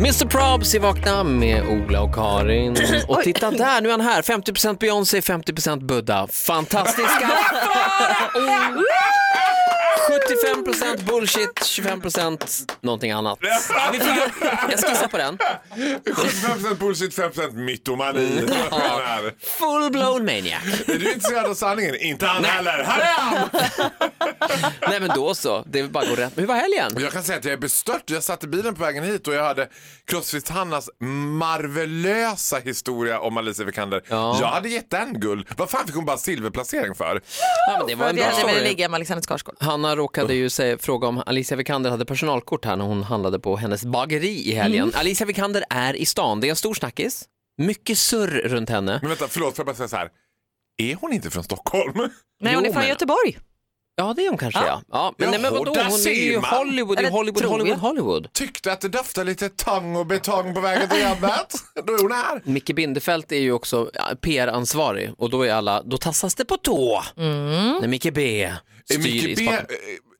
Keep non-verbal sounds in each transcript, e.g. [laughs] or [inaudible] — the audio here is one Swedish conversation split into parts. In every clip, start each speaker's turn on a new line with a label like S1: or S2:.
S1: Mr Probs är vakna med Ola och Karin. Och titta där, nu är han här. 50% Beyoncé, 50% Buddha. Fantastiska faror! 75% bullshit, 25% någonting annat. Ja, vi får, jag skissar på den.
S2: 75% bullshit, 5%
S1: Mm.
S2: mytomani.
S1: Full-blown maniac.
S2: Är du intresserad av sanningen? Inte han heller. Här är han!
S1: Nej men då så, det är bara att gå rätt. Men Hur var helgen?
S2: Jag kan säga att jag är bestört. Jag satt i bilen på vägen hit och jag hörde Crossfit-Hannas marvelösa historia om Alicia Vikander.
S1: Ja.
S2: Jag hade gett den guld. Vad fan fick hon bara silverplacering för?
S1: Ja, men det var
S3: För
S1: en
S3: att
S1: bra
S3: jag hade velat
S1: story.
S3: ligga med Alexander Skarsgård.
S1: Hanna råkade ju säga, fråga om Alicia Vikander hade personalkort här när hon handlade på hennes bageri i helgen. Alicia Vikander är i stan, det är en stor snackis. Mycket surr runt henne.
S2: Men vänta, förlåt, får jag bara säga så här. Är hon inte från Stockholm?
S3: Nej,
S1: Jo,
S3: hon är från
S1: men-
S3: Göteborg.
S1: Ja, det är hon kanske ja. ja. men,
S2: Ja,
S1: nej, men vadå,
S2: där
S1: hon är
S2: ser
S1: ju
S2: man.
S1: Hollywood, det är
S3: Eller
S1: Hollywood,
S3: tror
S1: Hollywood,
S3: jag.
S1: Hollywood.
S2: Tyckte att det doftade lite tang och betong på vägen till jobbet. Då är hon här.
S1: Micke Bindefeld är ju också ja, PR-ansvarig och då är alla, då tassas det på tå när Micke B
S2: Är
S1: styr i
S2: Micke B,
S1: Stockholm.
S2: eh,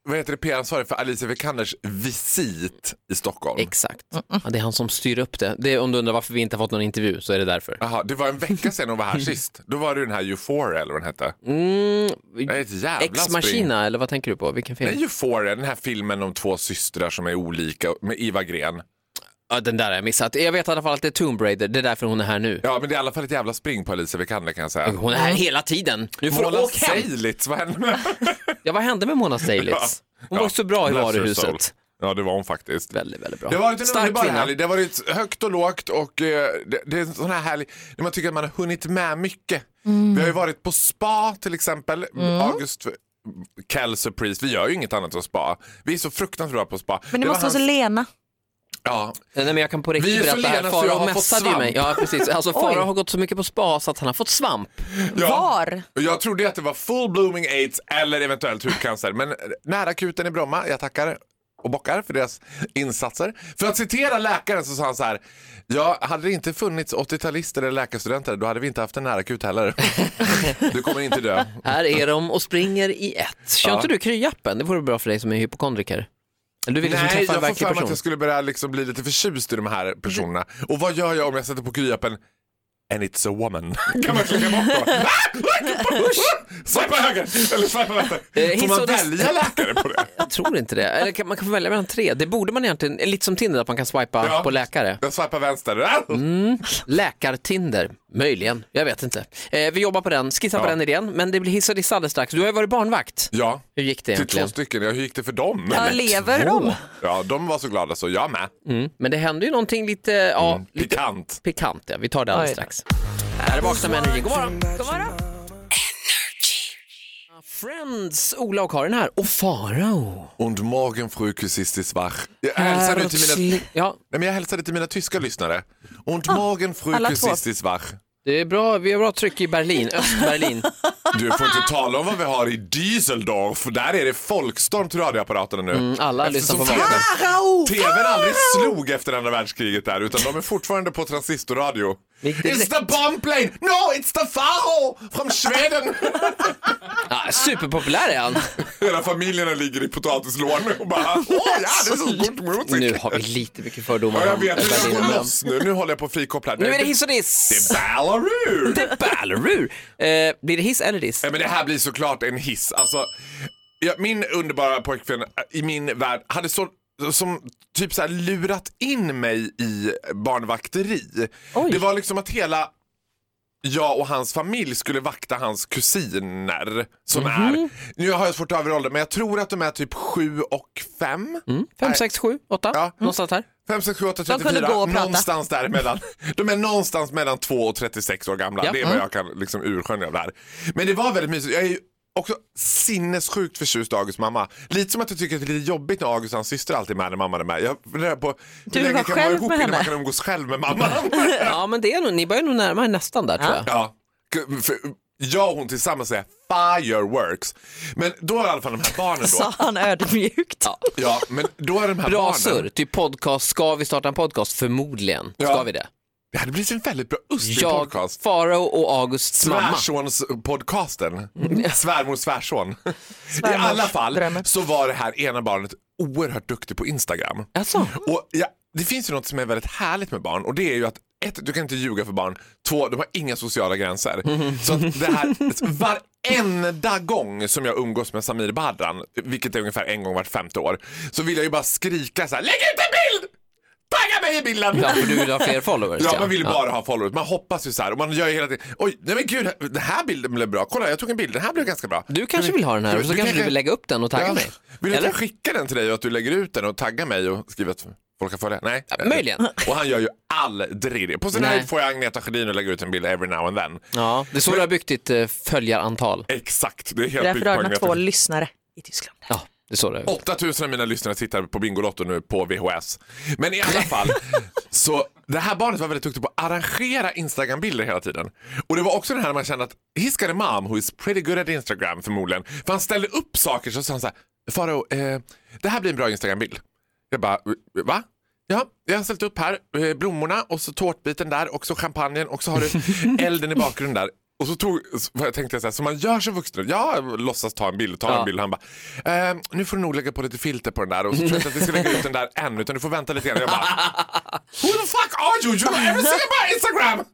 S2: vad heter det, PR-ansvarig för Alicia Vikanders visit i Stockholm?
S1: Exakt, ja, det är han som styr upp det. det är, om du undrar varför vi inte har fått någon intervju så är det därför.
S2: Jaha, det var en vecka sedan hon var här sist. Då var det ju den här Euphoria eller vad den hette.
S1: Mm,
S2: Det är ett jävla
S1: Ex Machina eller vad tänker du på? Vilken film?
S2: spring. Nej, Euphoria, den här filmen om två systrar som är olika med Iva Gren.
S1: Ja, den där har jag missat. Jag vet i alla fall att det är Tomb Raider, det är därför hon är här nu.
S2: Ja, men det är i alla fall ett jävla spring på Alicia Vikander kan jag säga.
S1: Hon är här hela tiden. Nu får du
S2: Mona
S1: åka hem.
S2: Seilitz, vad hände med
S1: Ja, vad hände med Mona Seilitz? Hon var
S2: [laughs] Ja,
S1: så bra i
S2: bless her
S1: varuhuset.
S2: soul. Ja, det var hon faktiskt.
S1: Väldigt, väldigt bra.
S2: Det har varit en
S1: Stark
S2: underbar
S1: kvinna.
S2: helg. Det har varit högt och lågt och eh, det, det är en sån här helg när man tycker att man har hunnit med mycket.
S3: Mm.
S2: Vi har ju varit på spa till exempel. August Kell Surprise. Vi gör ju inget annat än spa. Vi är så fruktansvärt bra på spa.
S3: Men det
S2: var
S3: måste vara så
S2: hans-
S3: lena.
S2: Ja,
S1: Nej men jag kan på
S2: Vi
S1: riktigt
S2: är så
S1: berätta här,
S2: lena så jag
S1: Farao
S2: har fått
S1: mässade ju
S2: svamp.
S1: mig. Ja precis, alltså Farao
S3: Oj.
S1: har gått så mycket på spa så att han har fått svamp.
S2: Ja.
S3: Var?
S2: Och Jag trodde att det var full blooming aids eller eventuellt hudcancer. Men nära akuten i Bromma, jag tackar och bockar för deras insatser. För att citera läkaren så sa han så här. Ja, hade det inte funnits 80-talister eller läkarstudenter då hade vi inte haft en nära akut heller. Du kommer inte dö.
S1: Här är de och springer i ett. Kör
S2: Ja.
S1: inte du kryappen? Det vore bra för dig som är hypokondriker. Eller Du vill liksom
S2: Nej,
S1: träffa en
S2: jag får
S1: verklig
S2: för mig att
S1: person.
S2: jag skulle börja liksom bli lite förtjust i de här personerna. Och vad gör jag om jag sätter på kryappen And it's a woman. [laughs] Kan man klicka bort
S1: [laughs]
S2: då? Ah! Swipa höger! Eller swipa vänster.
S1: Eh,
S2: Får
S1: hiss
S2: man
S1: och diss.
S2: välja läkare på det?
S1: Jag tror inte det. Eller kan, man kan få välja mellan tre. Det borde man egentligen, lite som Tinder, att man kan swipa
S2: Ja.
S1: på läkare.
S2: Jag swipar vänster. Ah!
S1: Mm. Läkartinder, möjligen. Jag vet inte. Eh, vi jobbar på den, skissar på
S2: Ja.
S1: den idén. Men det blir hiss och diss alldeles strax. Du har ju varit barnvakt.
S2: Ja,
S1: Hur gick det
S2: till två
S1: egentligen?
S2: stycken. Ja, hur gick det för dem?
S3: Ja, lever de?
S2: Ja, de var så glada så jag med. Mm.
S1: Mm. Men det hände ju någonting lite, ja, lite
S2: Pikant.
S1: pikant. Ja. Vi tar det alldeles
S3: Oj.
S1: strax. Här är Vakna med Energy. God morgon. Friends, Ola och Karin här och Farao.
S2: Und morgen fru kusistis wach. Jag hälsade till mina...
S1: Ja,
S2: Nej, men jag hälsade till mina tyska lyssnare. Und morgen fru
S3: Ah, alla två.
S2: kusistis wach.
S1: det är bra. Vi har bra tryck i Berlin, Östberlin.
S2: Du får inte tala om vad vi har i Düsseldorf. Där är det folkstorm till radioapparaterna nu.
S1: Mm, alla lyssnar
S2: Eftersom
S1: på vakna.
S2: TVn aldrig slog efter andra världskriget där utan de är fortfarande på transistorradio.
S1: Vilket-
S2: It's the bomb plane! No, it's the Faro
S1: [laughs]
S2: from Sweden!
S1: Ja, superpopulär är han.
S2: Hela familjerna ligger i potatislådor och bara åh ja, det är så gott musik.
S1: Nu har vi lite mycket fördomar
S2: Ja, jag
S1: om
S2: vet, nu ska
S1: Berlin.
S2: jag gå loss nu. Nu håller jag på att frikoppla.
S1: Nu är det
S2: Det
S1: hiss och diss.
S2: är Ballarur!
S1: Ballerur. Eh, blir det hiss eller diss?
S2: Ja, men det här blir såklart en hiss. Alltså, ja, min underbara pojkvän äh, i min värld hade så, som typ så här lurat in mig i barnvakteri. Det var liksom att hela jag och hans familj skulle vakta hans kusiner som är, nu har jag svårt att överhålla men jag tror att de är typ sju och fem. Äh,
S1: Fem, sex, sju, åtta.
S2: Ja.
S1: Någonstans här.
S2: 5, 6, 7, 8,
S3: De kunde
S2: 34.
S3: gå och prata.
S2: någonstans däremellan. De är någonstans mellan 2 och 36 år gamla.
S1: Ja.
S3: Mm.
S2: Det är vad jag kan liksom urskönja av det här. Men det var väldigt mysigt. Jag är ju också sinnessjukt förtjust i Augusts mamma. Lite som att jag tycker att det är lite jobbigt när August och hans syster alltid är med när mamman är med. Jag funderar på hur
S3: Du
S2: länge
S3: var
S2: kan man
S3: själv
S2: vara ihop
S3: med
S2: innan man
S3: henne.
S2: kan umgås själv med mamman? [laughs]
S1: Ja, men det är nog, ni börjar nog närma er nästan där tror jag.
S2: Ja. K- För jag och hon tillsammans är fireworks. Men då är i alla fall de här barnen då.
S3: [laughs] Sa han ödmjukt.
S2: Ja, men då är de här
S1: Bra
S2: barnen.
S1: surr, typ podcast, ska vi starta en podcast? Förmodligen
S2: Ja.
S1: ska vi det.
S2: Det hade blivit en väldigt bra ustig
S1: Jag,
S2: podcast.
S1: Farao och Augusts mamma. Mm.
S2: Svärsons-podcasten. [laughs]
S1: [laughs]
S2: Svärmor svärson. I
S3: Svärmors
S2: alla fall
S3: drömmen.
S2: så var det här ena barnet oerhört duktig på Instagram.
S1: Alltså,
S2: Och ja, det finns ju något som är väldigt härligt med barn och det är ju att ett, du kan inte ljuga för barn. Två, de har inga sociala gränser.
S1: Mm-hmm.
S2: Så att det
S1: [laughs]
S2: här, varenda gång som jag umgås med Samir Badran, vilket är ungefär en gång vart femte år, så vill jag ju bara skrika så här: lägg ut en bild! Tagga mig i bilden!
S1: ja, för du vill ha fler followers.
S2: Ja, man vill ju bara ha followers. Man hoppas ju så här och man gör ju hela tiden. Oj, nej men gud, den här bilden blev bra. Kolla, jag tog en bild. Den här blev ganska bra.
S1: Du kanske vill ha den här och så kanske du vill lägga upp den och tagga
S2: Ja.
S1: mig.
S2: Vill du inte
S1: Eller?
S2: skicka den till dig och att du lägger ut den och taggar mig och skriver att folk kan följa? Nej.
S1: Möjligen.
S2: Och han gör ju aldrig det. På sin
S1: Nej.
S2: höjd får jag Agneta Sjödin och lägga ut en bild every now and then.
S1: Ja, det är så du har byggt ditt eh, följarantal.
S2: Exakt, det är helt
S3: Därför
S2: byggt
S3: har
S2: på
S3: de
S2: Agneta
S3: två
S2: Sjödin.
S3: lyssnare i Tyskland.
S1: Ja, det är så det är.
S2: 8000 av mina lyssnare tittar på Bingolotto nu på VHS. Men i alla fall, så det här barnet var väldigt duktigt på att arrangera Instagram-bilder hela tiden. Och det var också den här man kände att he's got a mom who is pretty good at Instagram förmodligen. För han ställde upp saker så sa han så här, Faro, eh, det här blir en bra Instagram-bild. Jag bara, va? Ja, jag har ställt upp här eh, blommorna och så tårtbiten där och så champagnen och så har du elden i bakgrunden där. Och så tog, så jag tänkte jag så här, som man gör som vuxen, jag låtsas ta en bild och ta
S1: Ja.
S2: en bild och han bara, ehm, nu får du nog lägga på lite filter på den där och så tror jag inte att vi ska lägga ut den där än utan du får vänta lite grann. Jag bara, who the fuck are you? You know everything about Instagram!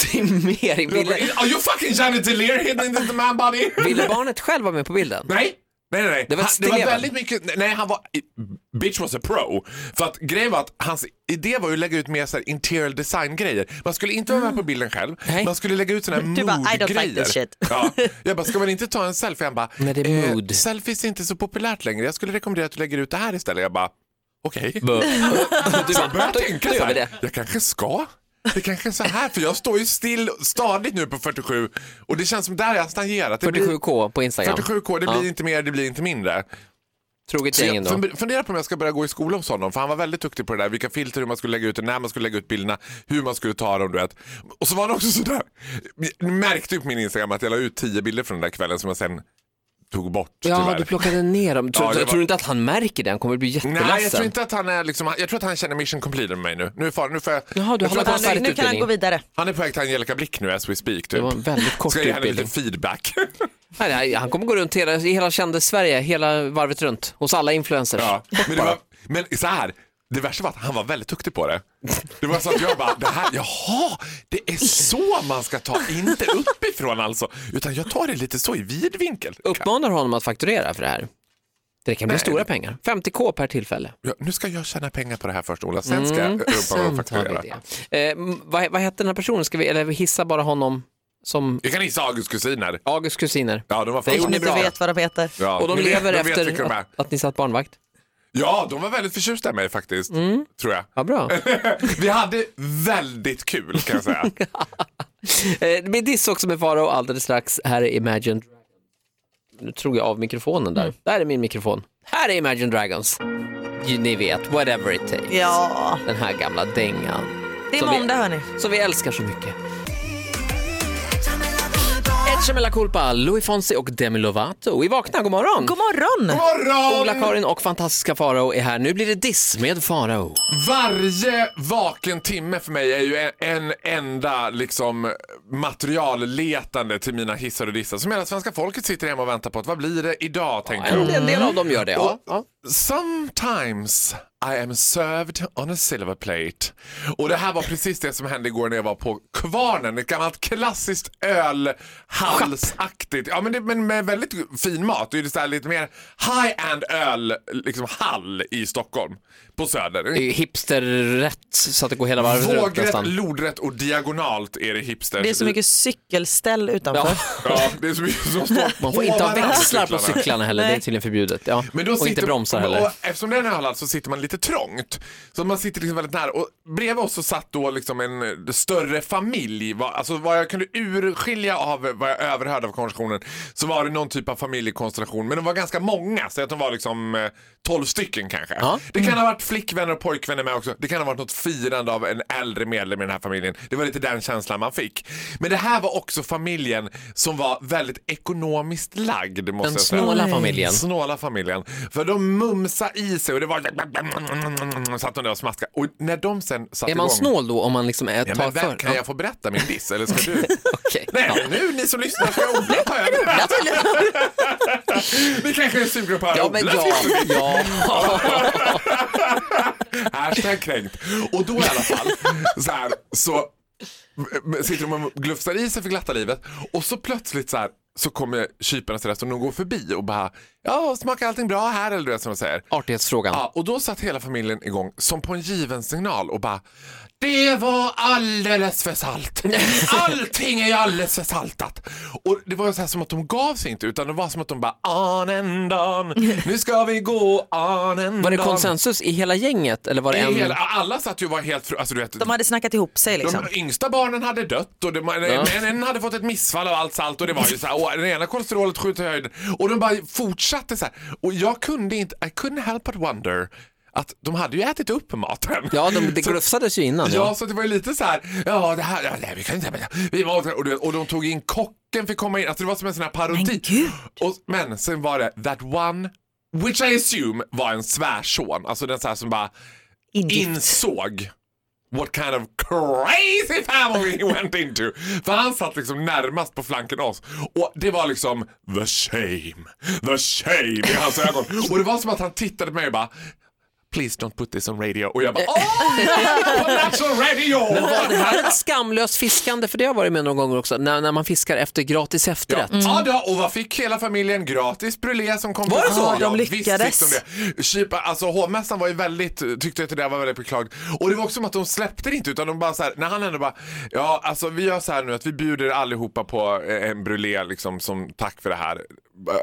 S1: Optimering.
S2: Jag
S1: Ville,
S2: bara, Are you fucking Janet Delir hidden in the man body?
S1: ville barnet själv vara med på bilden?
S2: Nej. Nej, nej, nej.
S1: Det var
S2: han, det var
S1: stelen.
S2: väldigt mycket, nej han var, bitch was a pro. För att grejen var att hans idé var ju att lägga ut mer så här interior design grejer. Man skulle inte vara med på bilden själv,
S1: Nej.
S2: man skulle lägga ut såna här
S3: Du bara, "I don't like
S2: mood-grejer.
S3: this shit."
S2: ja. Jag bara, ska man inte ta en selfie? Han bara, "Eh,
S1: Nej, det är mood.
S2: selfies är inte så populärt längre, jag skulle rekommendera att du lägger ut det här istället. Jag bara, okej.
S1: [laughs] Du
S2: [laughs] Jag börjar tänka
S1: då
S2: så
S1: gör vi
S2: här,
S1: det.
S2: jag kanske ska. Det kanske är så här, för jag står ju still stadigt nu på 47 och det känns som där jag har stagnerat. Det blir-
S1: 47k på Instagram.
S2: 47K, det
S1: Ja.
S2: blir inte mer, det blir inte mindre.
S1: Troget
S2: Så
S1: gäng
S2: jag
S1: ändå.
S2: fun- funderar på om jag ska börja gå i skola hos honom, för han var väldigt duktig på det där, vilka filter, hur man skulle lägga ut det, när man skulle lägga ut bilderna, hur man skulle ta dem, du vet. Och så var han också sådär, ni märkte ju på min Instagram att jag la ut tio bilder från den där kvällen som jag sen tog bort
S1: Ja,
S2: tyvärr.
S1: du plockade ner dem. Tror,
S2: Ja, det var-
S1: tror du inte att han märker det? Han kommer bli
S2: Nej, jag tror
S1: jätteledsen.
S2: inte att han är liksom, jag tror att han känner mission completed med mig nu. Nu är far, nu får jag,
S1: Jaha, du
S2: jag tror
S1: håller
S2: att han,
S1: på-
S3: Nu,
S1: Färdigt
S3: nu kan han
S1: utbildning.
S3: gå vidare.
S2: han är på väg till Angelica Blick nu as we speak. Typ.
S1: Det var en väldigt kort
S2: Ska jag ge henne lite
S1: utbildning.
S2: feedback.
S1: Nej, nej, han kommer gå runt hela, i hela kändis-Sverige, hela varvet runt, hos alla influencers.
S2: Ja, men, det var, men så här, det värsta var att han var väldigt duktig på det. Det var så att jag bara, det här, jaha, det är så man ska ta, inte uppifrån alltså, utan jag tar det lite så i vid vinkel.
S1: Uppmanar honom att fakturera för det här. Det kan bli
S2: Nej.
S1: stora pengar. 50k per tillfälle.
S2: Ja, nu ska jag tjäna pengar på det här först Ola, sen ska jag rumpa och
S1: Mm, Sen tar vi
S2: fakturera.
S1: det. Eh, m- vad, vad hette den här personen? Ska vi, eller vi hissar bara honom som
S2: Jag kan gissa Augusts kusiner.
S1: Augusts kusiner.
S2: Ja, de var
S1: Det
S2: fan
S1: gjorde
S3: Om
S1: ni
S3: du inte
S1: bra.
S3: vet vad de heter.
S2: Ja,
S1: Och de
S2: ni vet-
S1: lever
S2: de vet vilka
S1: efter
S2: de är.
S1: att, att ni satt barnvakt.
S2: Ja, de var väldigt förtjusta i mig faktiskt,
S1: Mm.
S2: tror jag.
S1: Ja, bra.
S2: Vi hade väldigt kul kan
S1: [laughs]
S2: jag säga.
S1: Eh, Med diss också med Farao alldeles strax. Här är Imagine Dragons. Nu tror jag av mikrofonen
S2: Mm.
S1: där. Där är min mikrofon. Här är Imagine Dragons. Ju- Ni vet, whatever it takes.
S3: Ja,
S1: Den här gamla dängan.
S3: det är
S1: Som vi-
S3: måndag hörni.
S1: Som vi älskar så mycket. Etche Mella Culpa, Louis Fonsi och Demi Lovato. Vi vaknar, god morgon!
S3: God morgon!
S2: Morgon!
S1: Ola-Karin och fantastiska Farao är här. Nu blir det diss med Farao.
S2: Varje vaken timme för mig är ju en, en enda liksom, materialletande till mina hissar och dissar som hela svenska folket sitter hemma och väntar på. Att, vad blir det idag? tänker
S1: En,
S2: jag.
S1: en del av dem gör det, ja. ja.
S2: Sometimes I am served on a silver plate. Och det här var precis det som hände igår när jag var på Kvarnen, ett gammalt klassiskt ölhalsaktigt. Ja, men, det, men med väldigt fin mat. Det är ju så här lite mer high-end öl, liksom hall i Stockholm på Söder.
S1: Det är ju hipsterrätt så att det går hela varvet runt
S2: Vågrätt,
S1: nästan.
S2: lodrätt och diagonalt är det hipsters.
S3: Det är så mycket cykelställ utanför.
S1: Ja.
S2: Ja, det är så mycket som står [laughs]
S1: Man får inte ha
S2: ovanför
S1: växlar på
S2: cyklarna.
S1: cyklarna heller, det är
S3: Nej.
S1: tydligen förbjudet. Ja.
S2: Men då
S1: och
S2: sitter,
S1: inte bromsar heller.
S2: Och eftersom det är en ölhall så sitter man lite trångt. Så man sitter liksom väldigt nära. Och bredvid oss så satt då liksom en eh, större familj. Va- Alltså vad jag kunde urskilja av eh, vad jag överhörde av konversationen så var det någon typ av familjekonstellation. Men de var ganska många, så att de var liksom eh, 12 stycken kanske.
S1: Ja.
S2: Det kan ha varit flickvänner och pojkvänner med också. Det kan ha varit något firande av en äldre medlem i den här familjen. Det var lite den känslan man fick. Men det här var också familjen som var väldigt ekonomiskt lagd. Måste
S1: Den
S2: jag säga.
S1: snåla familjen.
S2: Snåla familjen. För de mumsa i sig och det var... [laughs] Satt de där och smaskade. Och när de sen satte
S1: Är man
S2: igång...
S1: snål då om man liksom är,
S2: Ja,
S1: tar
S2: men
S1: för?
S2: vem, kan jag få berätta min diss eller ska
S1: [laughs]
S2: du?
S1: Okej.
S2: Nej,
S1: Ja.
S2: men nu ni som lyssnar ska odla ta
S1: [laughs]
S2: över. [laughs] Ni kanske är sugna på att
S1: Ja,
S2: odla.
S1: men ja, ja.
S2: [laughs] Hashtag kränkt. Och då i alla fall så, här, så eh, sitter de och glufsar i sig för glatta livet och så plötsligt så här så kommer kyparna till restaurang och går förbi och bara ja smakar allting bra här eller du vet som de säger.
S1: Artighetsfrågan.
S2: Ja, och då satt hela familjen igång som på en given signal och bara det var alldeles
S1: [laughs]
S2: för salt. Allting är ju alldeles för saltat. Och det var ju så här som att de gav sig inte utan det var som att de bara on
S1: [laughs]
S2: and on. Nu ska vi gå on and
S1: Var det
S2: on.
S1: konsensus i hela gänget eller var det
S2: Det är
S1: en?
S2: hela, alla satt ju och var helt... fru- Alltså, du vet,
S3: De hade snackat ihop sig liksom.
S2: de yngsta barnen hade dött och det, en, en hade fått ett missfall av allt salt och det var ju så här, och den ena kolesterolet skjuter i höjden och de bara fortsatte så här. Och jag kunde inte, I couldn't help but wonder att de hade ju ätit upp maten.
S1: Ja, de, det
S2: Så-
S1: glufsades ju innan.
S2: [laughs] Ja, så det var ju lite så här, ja det här, ja, nej, vi kan inte, men- vi måste, och, du vet, och de tog in kocken fick komma in, alltså det var som en sån här parodi.
S3: Men gud.
S2: Och, men sen var det that one, which I assume var en svärson, alltså den så här som bara
S3: Ingift.
S2: insåg what kind of crazy family he went into. För han satt liksom närmast på flanken av oss. Och det var liksom the shame, the shame i hans ögon. Och det var som att han tittade på mig och bara Please don't put this on radio. Och jag bara [laughs] oh, yeah, on national radio!
S1: Men var det här ett skamlöst fiskande? För det har jag varit med någon gång också, när, när man fiskar efter gratis
S2: Ja.
S1: efterrätt.
S2: ja då, och vad fick hela familjen? Gratis brulé som kom.
S1: Var det så?
S2: Ja,
S3: De
S2: visst fick
S3: lyckades.
S2: de det. Kypa, alltså hovmästaren var ju väldigt, tyckte att det där var väldigt beklagligt. Och det var också som att de släppte det inte utan de bara så här, när han ändå bara, ja alltså vi gör så här nu att vi bjuder allihopa på eh, en brulé liksom som tack för det här.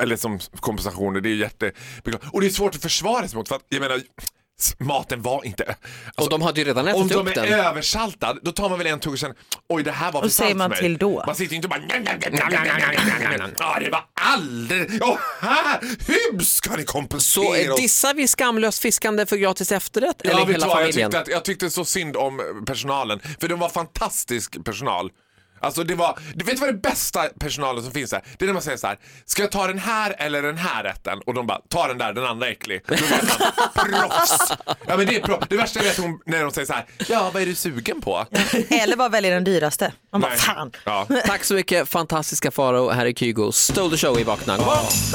S2: Eller som kompensation och det är ju jättebeklagligt. Och det är svårt att försvara sig mot för att, jag menar, maten var inte... alltså,
S1: Och de hade ju redan
S2: om
S1: ätit
S2: de
S1: upp
S2: är
S1: den.
S2: översaltad, då tar man väl en tugga och sen, oj det här var för
S3: Och säger
S2: salt
S3: man
S2: för mig.
S3: till då?
S2: Man sitter ju inte
S1: [laughs]
S2: och bara... Ja, det var aldrig... Åh, här, hur ska ni kompensera
S1: Så eh,
S2: oss?
S1: dissar vi skamlöst fiskande för gratis efterrätt
S2: Ja,
S1: eller
S2: vet du
S1: hela
S2: vad, jag,
S1: familjen?
S2: tyckte att, jag tyckte så synd om personalen, för de var fantastisk personal. Alltså det var, du vet vad det bästa personalen som finns här? Det är när man säger så här, ska jag ta den här eller den här rätten? Och de bara, ta den där, den andra är äcklig. Då var man, [laughs] proffs! Ja men det är proffs. Det värsta jag vet är hon- när de säger så här, ja vad är du sugen på?
S3: Eller bara välja den dyraste. Man bara
S2: Nej.
S3: fan.
S2: Ja.
S1: Tack så mycket fantastiska Faro här är Kygo. Stole the show i Vakna.
S3: Kom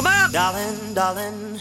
S3: igen.
S4: Darling, darling.